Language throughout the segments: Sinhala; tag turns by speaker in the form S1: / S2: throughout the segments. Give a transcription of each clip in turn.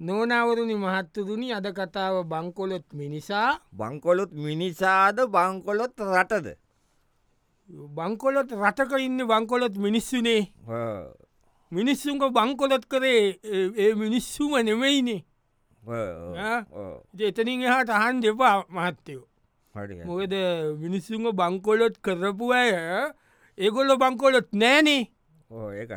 S1: නෝනවරුණි මහත්තුරුණි අද කතාව බංකොලොත් මිනිසා
S2: බංකොලොත් මිනිසාද බංකොලොත් රටද
S1: බංකොලොත් රටක ඉන්න බංකොලොත් මිනිස්සුනේ මිනිස්සුන්ක බංකොලොත් කරේ ඒ- ඒ මිනිස්සුම නෙමෙයිනේ ආ. ඉතින් එතනින් එහා තහන් දෙපා මහත්තයෝ මොකද මිනිස්සුන්ව බංකොලොත් කරපු අය ඒගොල්ල බංකොලොත් නෑනේ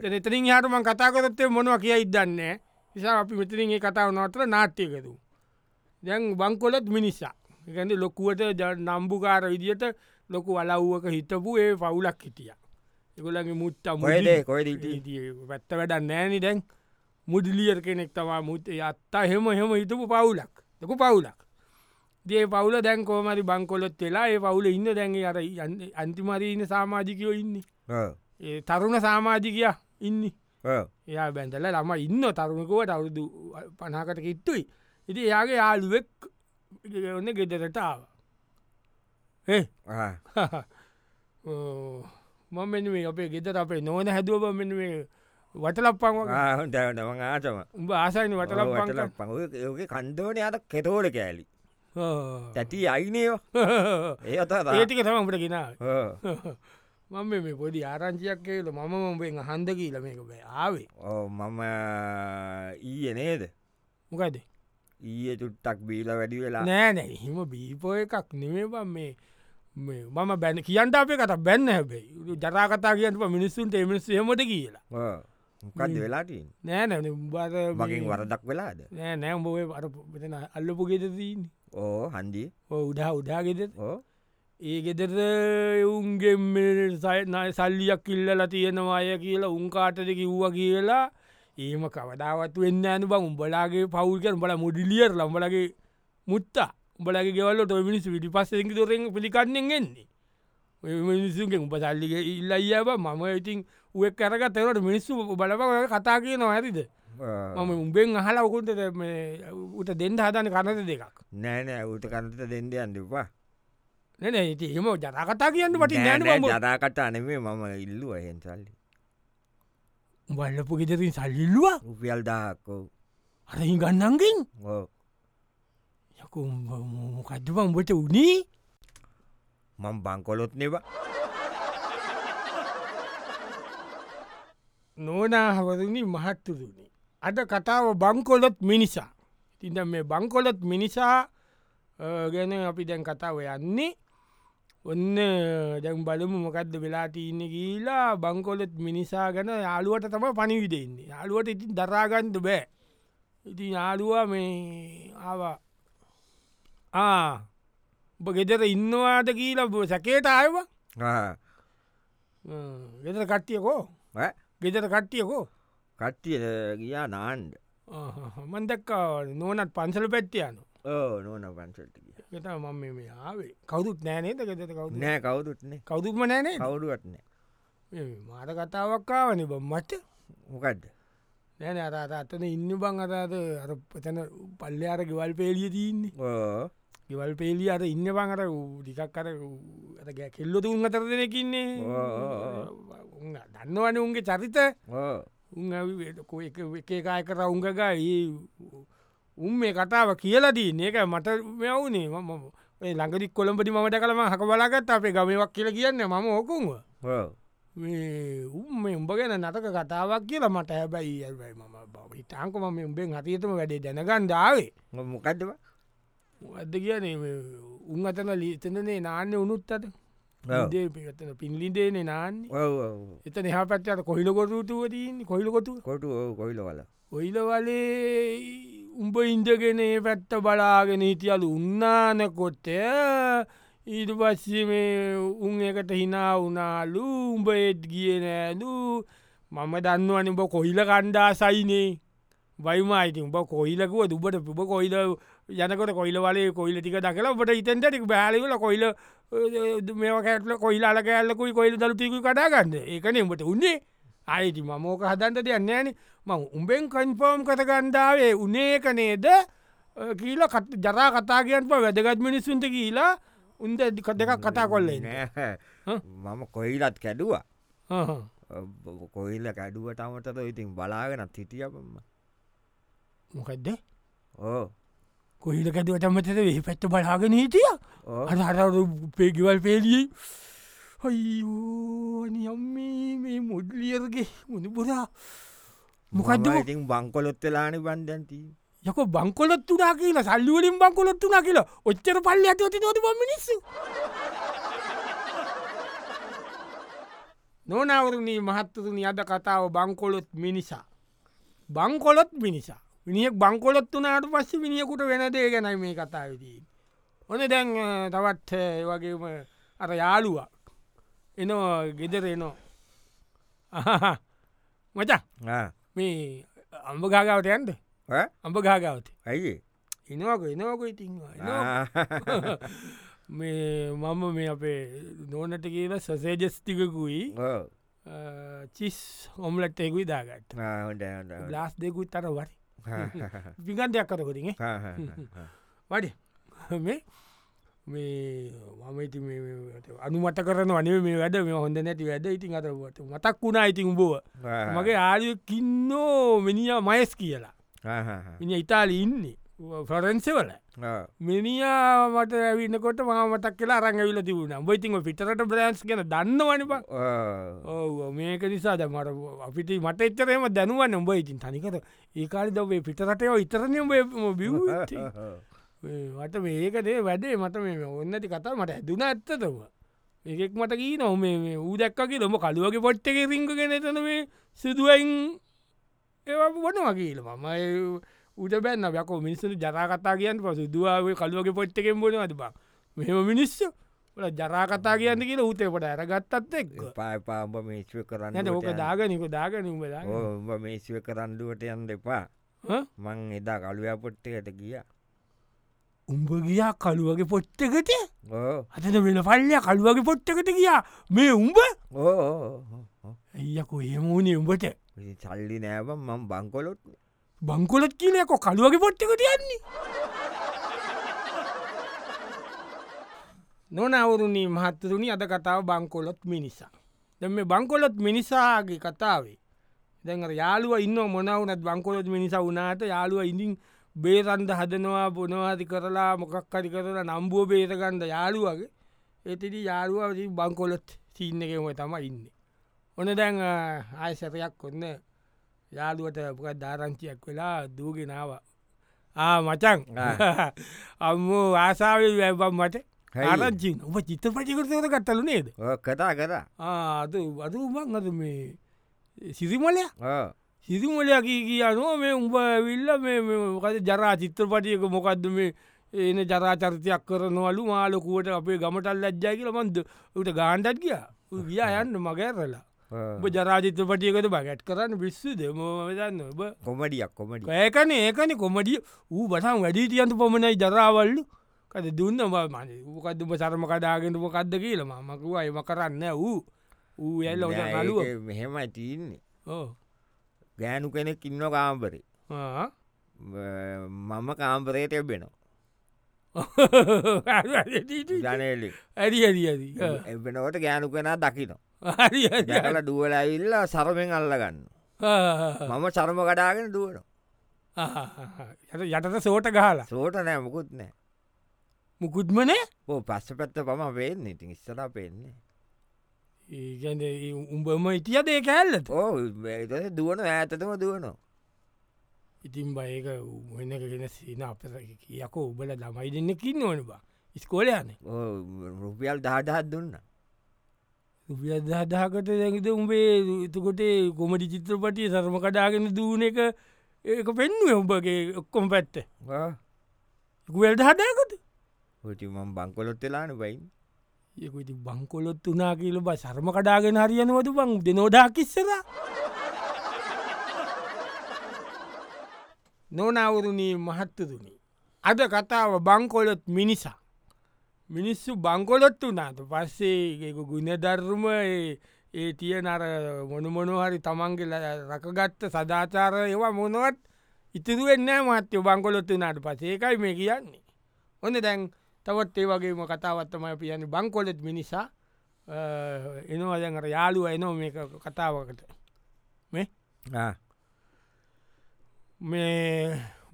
S1: ඉතින් එතනින් යාටම කතා කරත්තේ මොනව කිය ඉදන්න නිසා අපි මෙතරින් ඒ කතාව නොතර නාට්‍යකරු දැන් බංකොලොත් මිනිසා එකඳ ලොකුවට ජ- නම්බුකාර විදිට ලොකු වලව්වක හිටපු ඒ පවුලක් හිටිය එකගොලගේ මුත්තා
S2: කොහෙද- කොහෙද හිටියේ?
S1: පැත්ත වැඩ නෑනි දැන් මුඩිලියර් කෙනෙක් තවා මුත්තේ අත්තා හෙම හෙම හිටපු පවුලක් ලොකු පවුලක් දේ පවුල දැන් කෝමරි බංකොලොත් වෙලා ඒ පවුල ඉන්න දැන්ගේ අර යන්න- අන්තිමරීන සාමාජිකයෝ ඉන්නේ ඒ තරුණ සාමාජිකයා ඉන්නේ එයා බැඳල ළම ඉන්න තරුණකුවට අවුරුදු පනාකට කිට්ටුයි ඉති එයාගේ යාළුවෙක් ඔන්න ගෙදරටාව මම මෙ මේ අපේ ගෙදර අපේ නොන හැදුව මෙ මේ වටලප්පං
S2: ආටම
S1: උඹ ආසයින වටලප්පං
S2: යෝගේ කන්දෝන අට කෙතෝල කෑලි තැටි අයිනයෝ ඒ අත
S1: ඒටික තමට ගෙනාව මම මේ පොඩි ආරංචියක් කියල මම උඹෙන් හන්ද කියීල මේක බෑ ආවේ
S2: මම ඊය නේද
S1: මොකද
S2: ඊය චුට්ටක් බීල වැඩි වෙලා
S1: නෑනෑ හිම බීපෝ එකක් නෙමේ මේ මේ මම බැන කියන්ට අපේ කත බැන්න හැබැයි ජරාකතා කියන්නට මිනිස්සුන්ට එමනිස් හෙමට කියලා
S2: මොකක්ද වෙලාටී
S1: නෑනැ උබාර
S2: මගින් වරදක් වෙලාද
S1: නෑ නෑ උඹේ අර මෙතන අල්ලපු ගෙදදීන්න
S2: ඕ හන්දිී
S1: උඩා උඩාගෙද
S2: ඕ
S1: ඒ ගෙදර එවුන්ගෙන් මේ සයි- නයි සල්ලියක් ඉල්ලලා තියෙනවාය කියලා උන්කාටද කිව්වා කියලා ඒම කවදාවත් වෙන්න ඇන බං උඹලාගේ පවුල්කර බල මුඩිලියර් ලම්බලගේ මුත්තා උඹලගේ ගෙවල්ල ටොමිනිස් විටි පස්සෙකි තොරෙන් පිළිකන්නෙන් එන්නේ ඔය මිනිස්සුන්ගේ උඹ සල්ලික ඉල්ල අයබ මම ඉතින් උවක් කරග තෙවට මිනිස්සු බලප කතා කියන ඇරිද මම උඹෙන් අහලා ඔකුන්ට උට දෙන්ඩ හදන කරත දෙකක්
S2: නෑනෑ ඌට කන්ත දෙන්ඩ අන්නවා
S1: නැන ඉති එම ජනකතා කියන්න පට නෑන
S2: ජදාකට අනෙවේ මම ඉල්ලුව හෙන් සල්ලි
S1: බල්ලපු ගෙදරින් සල්ලිල්ලවා
S2: උපියල් දාක්කෝ
S1: අරහි ගන්නන්ගෙන්
S2: ඕ
S1: යකු කද්දප උඹට වනේ
S2: මං බංකොලොත් නෙවා
S1: නෝනාහවරණි මහත්තුරුණි. අද කතාව බංකොලොත් මිනිසා. තිද මේ බංකොලොත් මිනිසා අ, ගැන අපි දැන් කතාව යන්නේ ඔන්න දැන් බලමු මොකක්ද වෙලාටඉන්න කියලා බංකොලොත් මිනිසා ගැන යාළුවට තම පනිවිඩෙන්නේ යාළුවට ඉතින් දරාගන්ඩ බෑ ඉති යාළුවා මේ ආවා ආ උඹ ගෙදර ඉන්නවාද කියලා බ- සැකේට ආයවා ගෙදර කට්ටියකෝ ගෙදර කට්ටියකෝ
S2: කට්ටිය ගියා නාන්ඩ
S1: මන්දක්ක නෝනත් පන්සල පැත්තියනු
S2: ඕ නෝන පන්සල්ටිය
S1: ගත ම මේ ආවේ කවුරුත් නෑනේද ගෙත කවු
S2: නෑ කවුරුත්නේ
S1: කවුතුම නෑනේ
S2: කවුරුවත්න
S1: මාර කතාවක්කාවන බ මට
S2: මොකක්ද
S1: නෑන අරාත අතන ඉන්න බං අතාද අර පතන පල්ල අර ගෙවල් පේලිය තියන්නේ
S2: ඕ
S1: ගෙවල් පේලිය අර ඉන්න බං අර ටිකක් කර ඇතගෑ කෙල්ලො තුන් අතර දෙනකින්නේ
S2: ඕ, ඕ,
S1: දන්නවන උන්ගේ චරිත
S2: ඕ
S1: එකකාය කර උංගක උම් මේ කතාව කියලදී ඒක මට මෙවුනේ මම ළඟරික් කොළඹටි මට කළම හක බලාගත් අපේ ගමවක් කියල කියන්න මම ඕකුන්ව
S2: ඕ
S1: උම් මේ උඹ ගැන නතක කතාවක් කියලා මට හැබැයි ඇබයි ම හිතාංකම මේ උඹෙන් හතියතම වැඩේ දැනගන්ඩාවේ
S2: ඔ මොකක්දව
S1: ඇද කියන්නේ මේ උන් අතන ලීතනනේ නාන්න උනුත් අත
S2: ඔව්.
S1: පිතන පින්ලිදේනේ නාන්නේ
S2: ඔව
S1: එත නිහ පත්චට කොහිලකොටුවතින් කොයිලකොතු
S2: කොටු ඕ කොයිල වල
S1: ඔයිලවලේ උඹ ඉන්දගෙන ඒ පැත්ත බලාගෙන හිටියලු උන්නානකොට ඊට පස්සේ මේ උන් එකට හිනා වුනාලු උඹ ඒත් ගිය නෑලු මම දන්නවන උඹ කොහිල කණ්ඩා සයිනේ වයිමයිති උඹ කොයිලකුව දුබට පුබ කොයිල යනකොට කොයිල වලේ කොයිල ටික දකලා ඔබට ඉතන්ටටික් බෑලිවල කොයිල මේක කැටල කොයිලාල කෑල්ලකුයි කොයිල දලතිකු කඩාගන්න ඒකන උඹට උන්නේ අයිති මමෝක හදන්ට දෙයන්න ෑන ම උඹෙන් කන්ෆෝම් කතගන්ඩාවේ උනේක නේද කියීල කට ජරා කතා කියන්ප වැදගත් මිනිස්සුන්ට කියීලා උන්ද දික දෙකක් කතා කොල්ලේ නෑ
S2: නෑ
S1: හ්ම්.
S2: මම කොයිලත් කැඩුවා කොයිල කැඩුවට අමතර ඉතින් බලාගෙනත් හිටියම
S1: මොකක්ද
S2: ඕ
S1: කොහිල කැදුවටමතද වෙහි පැත්ත බලාගෙන හිටිය
S2: ඕ
S1: අහර පේගවල් පේලියයි හයිෝනියම්මේ මේ මුඩ්ලියර්ගේ මුණපුරා මොකක්ද
S2: මම ඉතින් බංකොලොත් වෙලානි බන්දැන්ති
S1: යක බංකොලොත් වනා කියලා සල්ලිවලින් බංකොලොත් වනා කියලා ඔච්චර පල්ල ඇති ති නොති මිනිස්ස නොනවරණී මහත්තතුනි අද කතාව බංකොලොත් මිනිසා බංකොලොත් මිනිසා විනිියක් බංකොලොත් වනාට පස්ස විනිියකුට වෙනදේ ගැනයි මේ කතාවදී. ඔන දැන් අ, තවත් අ, ඒ වගේම අර යාලුවක් එනවා ගෙදර එනෝ මචා මේ අම්ඹ ගාගාවට යන්ද අම්ඹ ගාගාවට
S2: ඇයි
S1: එනවක එනවක ඉතින්වා මේ මම මේ අපේ නෝනට කියලා සසේජස්තිකකුයි චිස් හොම්ලට එකුයි දාගත්ත ලාස් දෙකුත් තර වරි විගන්ධයක් කරකොටින් වඩ මේ මේ මම ඉති අනුමත කරන වනේ මේ වැඩ මේ හොඳ නැති වැඩ ඉතින් අතරට මතක් වුණා ඉතින් බෝව මගේ ආයකින්නෝ මිනිිය මයස් කියලා මිනි ඉතාලි ඉන්නේ ෆරන්සවල මිනිියා මට ඇවිනකොට ම මතක් කියලා රඟවිල තිබුණ බයිතින් පිටරට බ්‍රන්ස් ගැන දන්නවනි බ ඔව මේක නිසාද මට අපිට මට එච්චරේම දැනුවන් උඹ ඉතින් තනිකර ඒකාරි දවේ පිටරටයෝ ඉතරනය බිව් වට මේකදේ වැඩේ මට මේ ඔන්නති කතා මට ඇදුන ඇත්තතව ඒෙක් මට කී නො මේ ඌදැක්කගේ ලොම කළුවගේ පොට්ට එක රිංගගෙන තන මේ සිදුවයින් ඒ වනවා කියල මම උට බැන්න යකෝ මිනිස්සු ජරාකතා කියන්න පසු දුවාවේ කළුවගේ පොට්ට එකෙන් බොන අතිබ මෙම මිනිස්සු ජරාකතා කියන්න කියල ඌතේපට ඇරගත්තත් එක්ක
S2: පාපාඹ මේශ්ව
S1: නැට ඕක
S2: කරන්න
S1: දාගනික දාගනීම දා
S2: ඔබ මේශ්ව කරන්ඩුවට යන්න එපා මං එදා කළුවපොට්ටකට ගිය
S1: උඹ ගියා කළුවගේ පොට්ටකට
S2: ඕ
S1: අතන වෙන පල්ලයා කළුවගේ පොට්ටකට ගියා මේ උඹ
S2: ඕ
S1: ඇයකු හෙමූනේ උඹට
S2: සල්ලි නෑබ මං බංකොලොත්
S1: බංකොලත් කියලයක කළුවගේ පොට්ටකට යන්නේ නොනවරුණී මහත්තරුණි අද කතාව බංකොලොත් මිනිසා දැ මේ බංකොලොත් මිනිසාගේ කතාවේ දැන් යාලුව ඉන්න මොනවනත් බංකොලොත් මිනිසා වනාට යාලුව ඉඳින් බේරන්ද හදනවා බොනවාති කරලා මොකක්කරි කරලා නම්බුව බේරගන්ඩ යාලුවගේ ඒතිරි යාලුව බංකොලොත් සීන්න එකම තම ඉන්න ඔන දැන් ආය සැරයක් කොන්න යාළුවට පුකත් ධාරංචියක් වෙලා දූගෙනාව ආ මචන් අම්මෝ ආසාාවල් වැැබම් මට
S2: හයි.
S1: ආරංචි ඔබ චිත්තපටිකරතකට කත්තලු නේද
S2: කතා කරා
S1: ආද වදුමක් අද මේ සිරිමලය
S2: ඕ
S1: සිරිමලයක් කියනවා මේ උඹ විල්ල මොකද ජරා චිත්‍රපටියක මොකක්ද මේ එන ජරාචරිතයක් කරනවලු මාලොකුවට අපේ ගමටල් ලැජ්ජා කියල මන්ද ට ගාන්ඩත් කියා ගියා යන්න මගැරලා ඔබ ජරාචිත්‍රපටියකට බගැට් කරන්න බිස්සු දෙමදන්න ඔබ
S2: කොමඩියක් කොමඩි
S1: ඒකන ඒකන කොමඩිය වූ බසම් වැඩී තියන්තු පමණයි ජරාවල්ලු කද දුන්න බමන කදම සරම කඩාගෙනම කද්ද කියල මකු අයම කරන්න වූ ඌ ඇල්ල ඔ නලුව
S2: මෙහෙමයි තියන්නේ
S1: Oh,
S2: ගෑනු කෙනෙක් ඉන්න කාම්පරේ මම කාම්පරයට එබෙනවා ජනලි
S1: ඇරි ඇරි ඇරි ආ.
S2: එබෙනවට ගෑනු කෙනා දකිනවා
S1: හරි, හරි, හරි.
S2: දැකල දුවලඇවිල්ල සරමෙන් අල්ලගන්න
S1: ආ,
S2: මම සරම කඩාගෙන දුවන
S1: ආ, ආ. යට- යටට සෝට ගහලා
S2: සෝට නෑ මොකුත් නෑ
S1: මුකුත්මනේ
S2: ඕ පස්ස පැත්ත පම පේන්නේ ඉතින් ඉස්සලා පෙන්නේ
S1: ඒගැන උඹම ඉතියද ඒ කැල්ලත
S2: ඕ ඒ දුවන ඇතතම දුවනවා
S1: ඉතින් බයක වෙනගෙන සින අප යකෝ උබල ළමයි දෙන්න කින්න ඕන බා ස්කෝලයන
S2: ඕ රුපියල් දාඩහත් දුන්න
S1: උපියදදාකට දැකිත උඹේ එතකොටේ කොමටි චිත්‍රපටිය සරම කඩාගෙන දූන එක ඒක පෙන්ුව උඹගේ ඔක්කොම පැත්ත ගුවල්ට හදාකට
S2: හටි මම් බංකොලොත් වෙලාන බයින්
S1: යකුති බංකොලොත් වනා කියල බ සරම කඩාගෙන හරියනවතු බං දෙනෝඩා කිස්සර නොනවරුණී මහත්තතුනි අද කතාව බංකොලොත් මිනිසා මිනිස්සු බංකොලොත් වනාට පස්සේ ගුණධර්ම ඒ- ඒ තිය නර මොනමොනහරි තමන්ගේ ල- රකගත්ත සදාචාර ඒවා මොනවත් ඉතිරුවෙන්න මහත්‍යය බංකොලොත් වනාට පසේකයි මේ කියන්නේ ඔන්න දැන් තවත් ඒ වගේම කතාවත්තමයි පියන්නේ බංකොලොත් මිනිසා එනවාදැර යාලුව එනෝ මේ කතාවකට මේ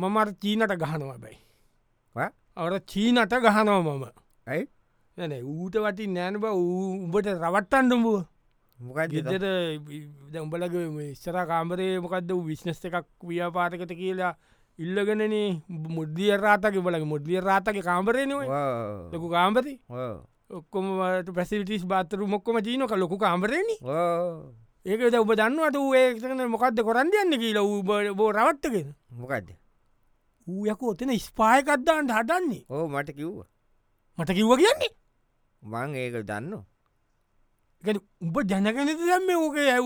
S1: මමර චීනට ගහනවා බැයි
S2: ඈ?
S1: අවර චීනට ගහනවා මම
S2: ඇයි
S1: නැන ඌට වටින් නෑන බ උඹට රවට්ටන්ටඹුව
S2: මොකද
S1: ගෙදර උඹලගේ ස්තර කාම්රේ මොකක්ද විශ්නස් එකක් ව්‍යාපාටකට කියලා ඉල්ලගෙනනේ මුද්දිය රාතක බලගේ මුද්දිය රාතක කාම්රයනව ලොකු කාම්පති ඔක්කොමට පැසිටිස් බාතරු මොක්කම ජීනක ලොකු කාම්රේණ ඒකද උබ දන්නවට ඒක්න මොකක්ද කොරන්දයන්න කියලා ඌබ බෝ රවට්ටගෙන
S2: මොකක්ද
S1: ඌ යක ඔතන ස්පායකත්දාන්ට හදන්නේ
S2: ඕ මට කිව්ව
S1: මට කිව්ව කියන්නේ
S2: මං ඒක දන්න
S1: ඒ කියන්නේ උඹ ජනගනත දම්ම ඕකේ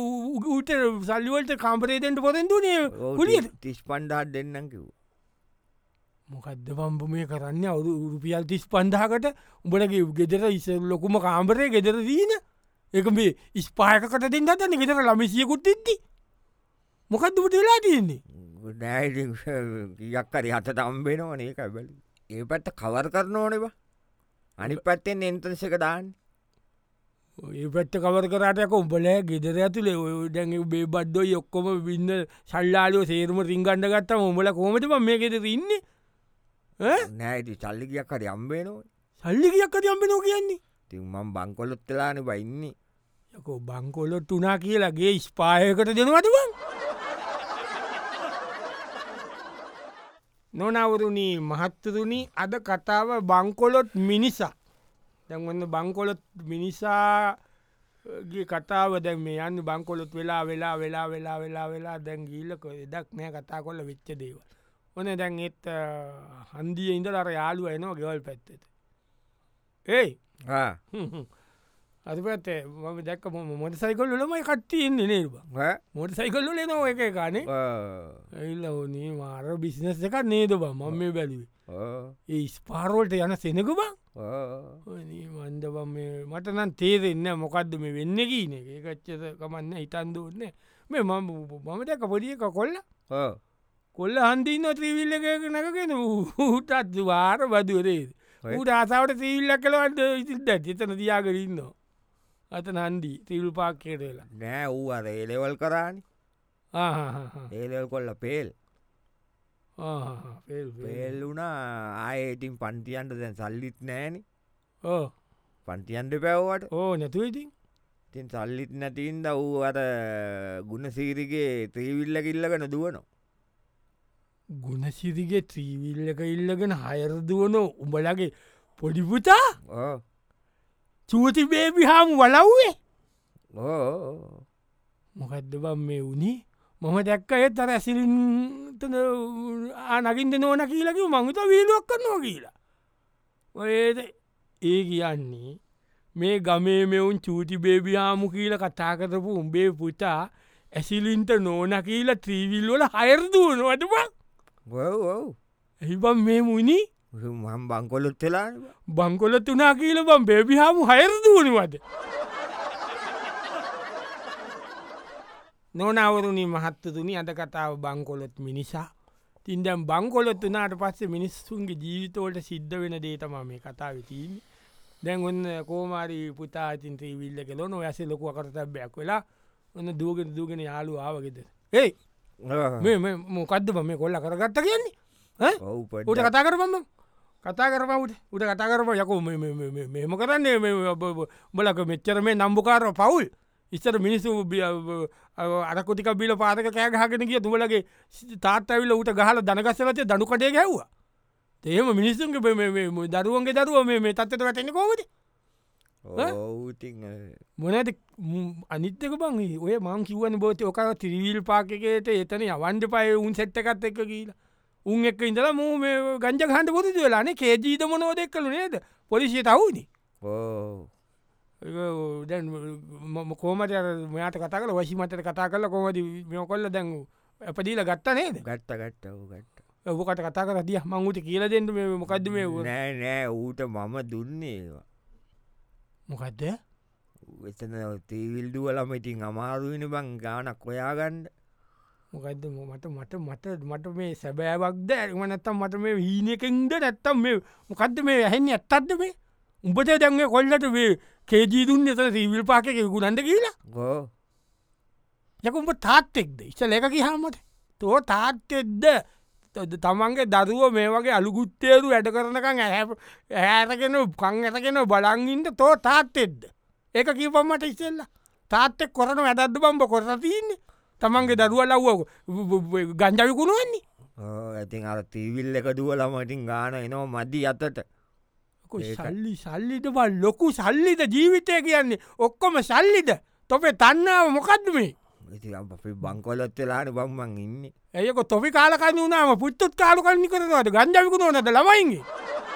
S1: ඌට සල්ලිවලට කාම්පරේතෙන්ට පොරෙන්දුනේ ගුලියට
S2: තිස් පණ්ඩාත් දෙන්නම් කිව්
S1: මොකක්ද පම්ප මේ කරන්න අවු රුපියල් තිස් පන්දහකට උඹලගේ ගෙදර ඉස ලොකුම කාම්පරය ගෙදර දීන එක මේ ඉස්පායකට දෙන්න දන්න ගෙදර ලමිසියකුත් ඉද්දි මොකක්ද උට වෙලා තියන්නේ
S2: නෑ යක්කරි හත තම්බෙනවා නඒකයි බැලි ඒ පැත්ත කවර් කරන ඕනවා අනි පත්තෙන් එන්තන්ස එක දාන්න
S1: ඒ පැත්ත කවර කරටයක උඹල ගෙදර ඇතුලේ ඔය දැන් බේ බද්දෝ යොක්කොම වින්න සල්ලාලෝ සේරම රිංගන්ඩ ගත්තම උඹල කෝමට ප මේ ගෙදර ඉන්නේ ඈ?
S2: නෑති සල්ලිකයක්කරි අම්බේනවා
S1: සල්ලිකයක් අති අම්පෙනෝ කියන්නේ
S2: ති මම් බංකොලොත් වෙලාන බයින්නේ
S1: යකෝ බංකොලොත් වනා කියලාගේ ස්පායකට දෙනවතුවන් නොනවරුණී මහත්තතුනි අද කතාව බංකොලොත් මිනිසා දැන්වන්න බංකොලොත් මිනිසාගේ කතාව දැ මේ යන්න බංකොලොත් වෙලා වෙලා වෙලා වෙලා වෙලා වෙලා දැන් ගීල්ලක එදක් නෑ කතා කොල්ල වෙච්ච දේව ඕන දැන් එත් හන්දිය ඉඳ ලර යාලුව එනවා ගෙවල් පැත්තෙට ඒයි අරිපත් මම දැක්ක ම මොට සයිකල් ලමයි කට්ටියන්නේ නිර්බ මොට සයිකල් ලනෝ එක කානේ ඇල්ල ඕනේ මාර බිසිනස් එකක් නේද බ මම මේ බැලිවේ ඒ ස්පාරෝල්ට යන සෙනක බං වන්දබම් මට නම් තේරෙන්න මොකක්ද මේ වෙන්න කියන එක ඒකච්චද කමන්න හිතන්දුවන්න මේ මම මම දැක පොඩියක කොල්ල කොල්ල හන්දින්න ත්‍රීවිල්ල එකක නැකගෙන ඌටත් වාර බදුවරේද
S2: ඔය.
S1: ඌට ආසාාවට සීල්ල කලවන්ට ඉසිල්ට චතන තියාකරන්නවා අත නන්දී තිවල් පාක්කයටලා
S2: නෑ වූ අර ඒලෙවල් කරානි ඒලෙවල් කොල්ල පේල් පේල් වුණා ආයේටින් පන්තියන්ට දැන් සල්ලිත් නෑන පන්තියන්ට පැව්වට
S1: ඕ නැතුවයිතින්
S2: තින් සල්ලිත් නැතින්ද වූ අර ගුණ සීරිගේ ත්‍රීවිල්ල කිල්ලගෙන දුවනවා
S1: ගුණසිරිගේ ත්‍රීවිල්ල එක ඉල්ලගෙන හයරදුවන උඹලගේ පොඩිපුතා
S2: ඕ
S1: චූති බේබිහාම් වලව්වේ
S2: ඕ
S1: මොකක්ද බම් මේ වනේ මම දැක්ක ඇත් අර ඇසිලින් නගින්ට නෝන කියලක මංගත වීලුවක් කරනවා කියලා. ඔයද ඒ කියන්නේ මේ ගමේ මෙවුන් චූටි බේබියාමු කියල කතා කරපු උඹේ පුතා ඇසිලින්ට නෝන කියලා ත්‍රීවිල්වල හයරදුව නොවටබක්
S2: ඔව් ඔව්
S1: ඇහිබම් මේ මුනි
S2: මම් බංකොලොත් වෙලා
S1: බංකොල තුනා කියල බම් බේබිහාමු හයරදුවනවද. නොනවරුණි මහත්තතුනි අද කතාව බංකොලොත් මිනිසා තින්දම් බංකොලොත් වනාට පස්සේ මිනිස්සුන්ගේ ජීවිතවලට සිද්ධ වෙන දේතම මේ කතාව තිීන් දැන් ඔන්න කෝමාරී පුතා චින්ත්‍රී විල්ල කෙලොන ඔයස ලොකුව කරතබයක් වෙලා ඔන්න දූගෙන දූගෙන යාලු ආවගෙද ඒ මේ මොකක්ද බම කොල්ල කරගත්ත කියන්නේ ඈ? උට කතා කරපම කතා කරපවට උට කතා කරප යකු මෙම කරන්නේ මේ ඔබ- ඔබ- බලක මෙච්චර මේ නම්බුකාර පවුල් ඉස්සර මිනිස්සු බිය- අ- අ- අරකොටික බිල පාරක කෑගහගෙන කිය තුවලගේ තාත්තඇවිල ඌට ගහල දනගස්සලතය දනුකටේ ගැව්වා එහෙම මිනිස්සුන්ගේ මේ- මේ- මේ දරුවන්ගේ දරුව මේ- මේ තත්වට වැටෙන කෝවද
S2: ඕති
S1: මොනට අනිත්‍යක බං ඒ ඔය මං කිවන බෝතය ඕකර තිරිවිල් පාකකට එතන අවන්ඩ පය උන් සැට්ටකත් එක කියලා උන් එක් ඉඳල මූ මේ ගංජ හන්ට පොති වෙලාන කේජීත මොනෝ දෙක්කලු නේද පොලිසිය තවුණ
S2: ඕ
S1: දැන් මම කෝමට අර මෙයාට කතා කල වශි මතට කතා කල කොමද මෙෝ කොල්ල දැන් ඇපදීල ගත්ත නේද
S2: ගත්ත ගත්ත වූ ගත්ත
S1: ඔකට කතා කර දිය මංගුට කියල දෙෙන්ට මොකක්ද මේ
S2: නෑ නෑ ඌට මම දුන්නේ ඒවා.
S1: මොකක්ද
S2: එතන තීවිල්දුවලම ඉතින් අමාරුවෙන බං ගානක් ඔොයාගන්ඩ
S1: මොකද මට මට මට මට මේ සැබෑවක්ද ඇම නැත්තම් මට මේ හීනකින්ද නැත්තම් මේ මොකක්ද මේ ඇහෙන්නේ ඇත්තත්ද මේ උඹට දැන්ගේ කොල්ලට වේ කේජීදුන් එත සීවිල් පාකක ගුණන්ට කියලා
S2: ගෝ
S1: යකුඹ තාත්තෙක්ද ඉස ලැක හාමට තෝ තාත්තෙක්ද තද- තමන්ගේ දරුව මේ වගේ අලුගුත්තේරු වැඩ කරනකං ඇහැරගෙන කං ඇතගෙන බලංගින්ට තෝ තාත්තෙද්ද. ඒක කීපම්මට ඉස්සෙල්ල තාත්තෙක් කොරන වැඩද බම්බ කොරසතින්නේ තමන්ගේ දරුව ලව්ව ගංජවිකුණුවන්නේ
S2: ඇතින් අර තීවිල් එක දුවලමටින් ගාන එනවා මදි අතට ඒකයි.
S1: සල්ලි සල්ලිට බල් ලොකු සල්ලිද ජීවිතය කියන්නේ ඔක්කොම සල්ලිද තොපේ තන්නාව මොකක්ද මේ
S2: ඉති අපි බංකොලොත් වෙලාන බම්මන් ඉන්න
S1: ඒක තොපි කාලකන්න වනාම පුත්තත් කාලුකන්නි කරනවට ගංජවිකුණ නොද ලවයින්ගේ